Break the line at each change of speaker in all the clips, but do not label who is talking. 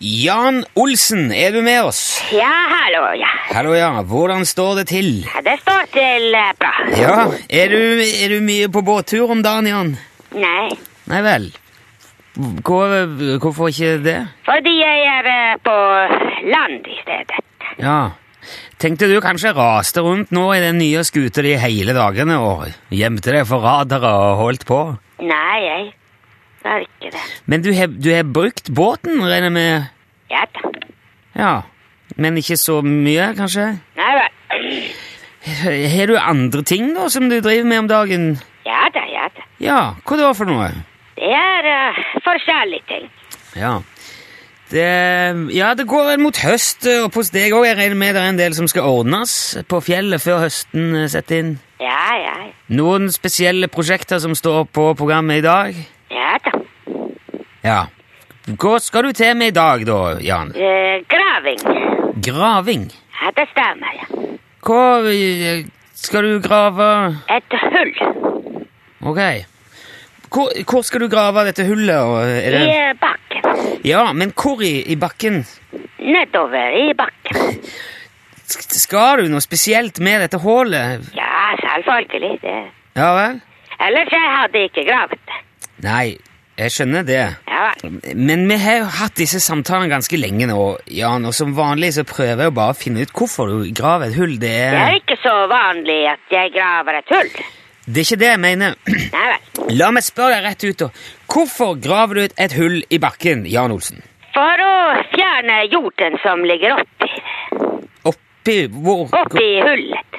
Jan Olsen, er du med oss?
Ja, hallo, ja.
Hallo, ja. Hvordan står det til?
Ja, Det står til eh, bra.
Ja, er du, er du mye på båttur om dagen, Jan?
Nei,
Nei vel. Hvor, hvorfor ikke det?
fordi jeg er eh, på land i stedet.
Ja. Tenkte du kanskje raste rundt nå i den nye skuta di hele dagene og gjemte deg for radarer og holdt på?
Nei, jeg er ikke det.
Men du har, du har brukt båten, regner jeg med?
Ja da.
Ja. Men ikke så mye, kanskje?
Nei vel.
Har du andre ting da som du driver med om dagen?
Ja da, ja da.
Ja, hva da for noe?
Det er eh, forskjellige ting.
Ja. Det, ja, det går vel mot høst eh, opp hos deg òg. Jeg regner med det er en del som skal ordnes på fjellet før høsten eh, setter inn.
Ja, ja, ja.
Noen spesielle prosjekter som står på programmet i dag?
ja da.
Ja. Hva skal du til med i dag, da, Jan?
Eh, graving.
Graving?
Ja, det stemmer, ja.
Hva eh, skal du grave
Et hull
Ok. Hvor, hvor skal du grave dette hullet? og Er
i
det...
eh, bakken.
Ja, men hvor i, i bakken?
Nedover i bakken.
Sk- Skal du noe spesielt med dette hullet?
Ja, selvfølgelig. det.
Ja vel?
Ellers jeg hadde ikke gravet det.
Nei, jeg skjønner det.
Ja vel.
Men vi har jo hatt disse samtalene ganske lenge nå, Jan, og som vanlig så prøver jeg jo bare å finne ut hvorfor du graver et hull. Det
Det er
er,
ikke så vanlig at jeg graver et hull.
det er ikke det jeg mener.
Nei vel.
La meg spørre deg rett ut, da. Hvorfor graver du et, et hull i bakken, Jan Olsen?
For å fjerne jorden som ligger oppi,
Oppi hvor
oppi hullet.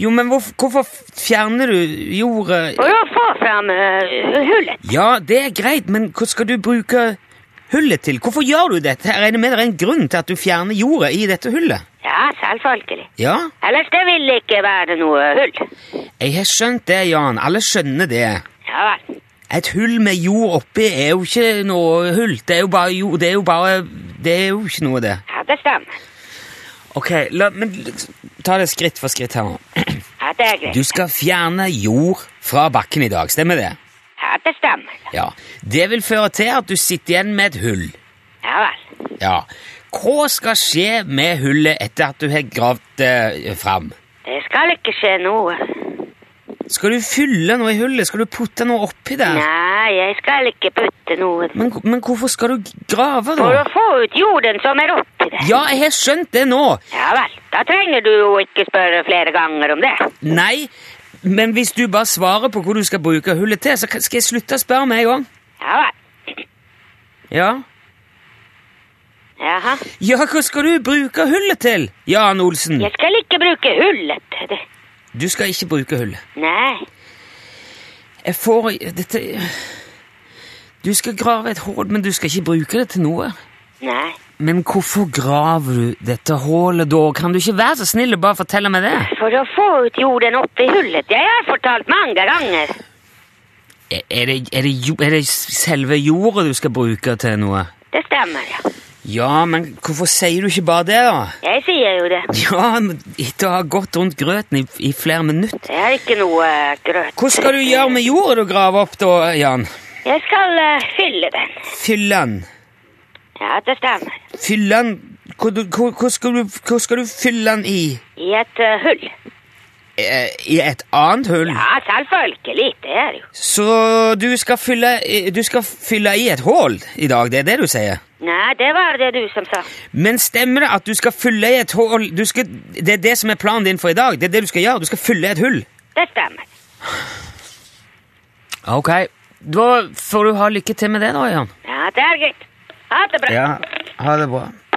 Jo, men hvorf- hvorfor fjerner du jordet
For å få fram øh, hullet.
Ja, det er greit, men hva skal du bruke hullet til? Hvorfor gjør du dette? Jeg regner med det er en grunn til at du fjerner jordet i dette hullet.
Ja, selvfølgelig.
Ja,
Ellers det vil ikke være noe hull.
jeg har skjønt det, Jan. Alle skjønner det.
Ja vel.
Et hull med jord oppi er jo ikke noe hull. Det er jo bare jord. Det er jo bare Det er jo ikke noe, det.
Ja, det stemmer.
Ok, la, men ta det skritt for skritt her nå.
Ja, det er
Du
greit.
skal fjerne jord fra bakken i dag, stemmer det?
Ja, det stemmer.
Ja. Det vil føre til at du sitter igjen med et hull.
Ja vel.
Ja. Hva skal skje med hullet etter at du har gravd det eh, fram?
Det skal ikke skje noe.
Skal du fylle noe i hullet? Skal du putte noe oppi der?
Nei, jeg skal ikke putte noe.
Men, men hvorfor skal du grave,
For å
da?
få ut jorden som er oppi det.
Ja, jeg har skjønt det nå!
Ja vel. Da trenger du jo ikke spørre flere ganger om det.
Nei, men hvis du bare svarer på hvor du skal bruke hullet til, så kan- skal jeg slutte å spørre med en gang.
Ja vel.
Ja?
Jaha.
Ja, hva skal du bruke hullet til, Jan Olsen?
Jeg skal ikke bruke hullet til det.
Du skal ikke bruke hullet.
Nei.
Jeg får dette Du skal grave et hull, men du skal ikke bruke det til noe.
Nei.
Men hvorfor graver du dette hullet da? Kan du ikke være så snill og bare fortelle meg det?
For å få ut jorden oppi hullet. Jeg har fortalt mange ganger.
Er, er det, er, det, jo- er det selve jorda du skal bruke til noe?
Det stemmer, ja.
Ja, men hvorfor sier du ikke bare det, da?
Jeg sier jo det.
Ja, men etter å ha gått rundt grøten i, i flere minutter.
Det er ikke noe eh, grøt.
Hva skal du gjøre med jorda du graver opp, da, Jan?
Jeg skal eh, fylle den.
Fylle den.
Ja, det stemmer.
Fylle den hva, du- hva, hva, skal du, hva skal du fylle den i?
I et eh, hull.
Eh, I et annet hull?
Ja, selvfølgelig. Det er jo.
Så du skal fylle, i- du skal fylle i et hull i dag, det er det du sier?
Nei, det var det du som sa.
Men stemmer det at du skal fylle i et hull du skal, Det er det som er planen din for i dag. Det er det du skal gjøre. Du skal fylle et hull.
Det stemmer.
Ok. Da får du ha lykke til med det, da, Jan.
Ja, det er greit. Ha det bra.
Ja, ha det bra.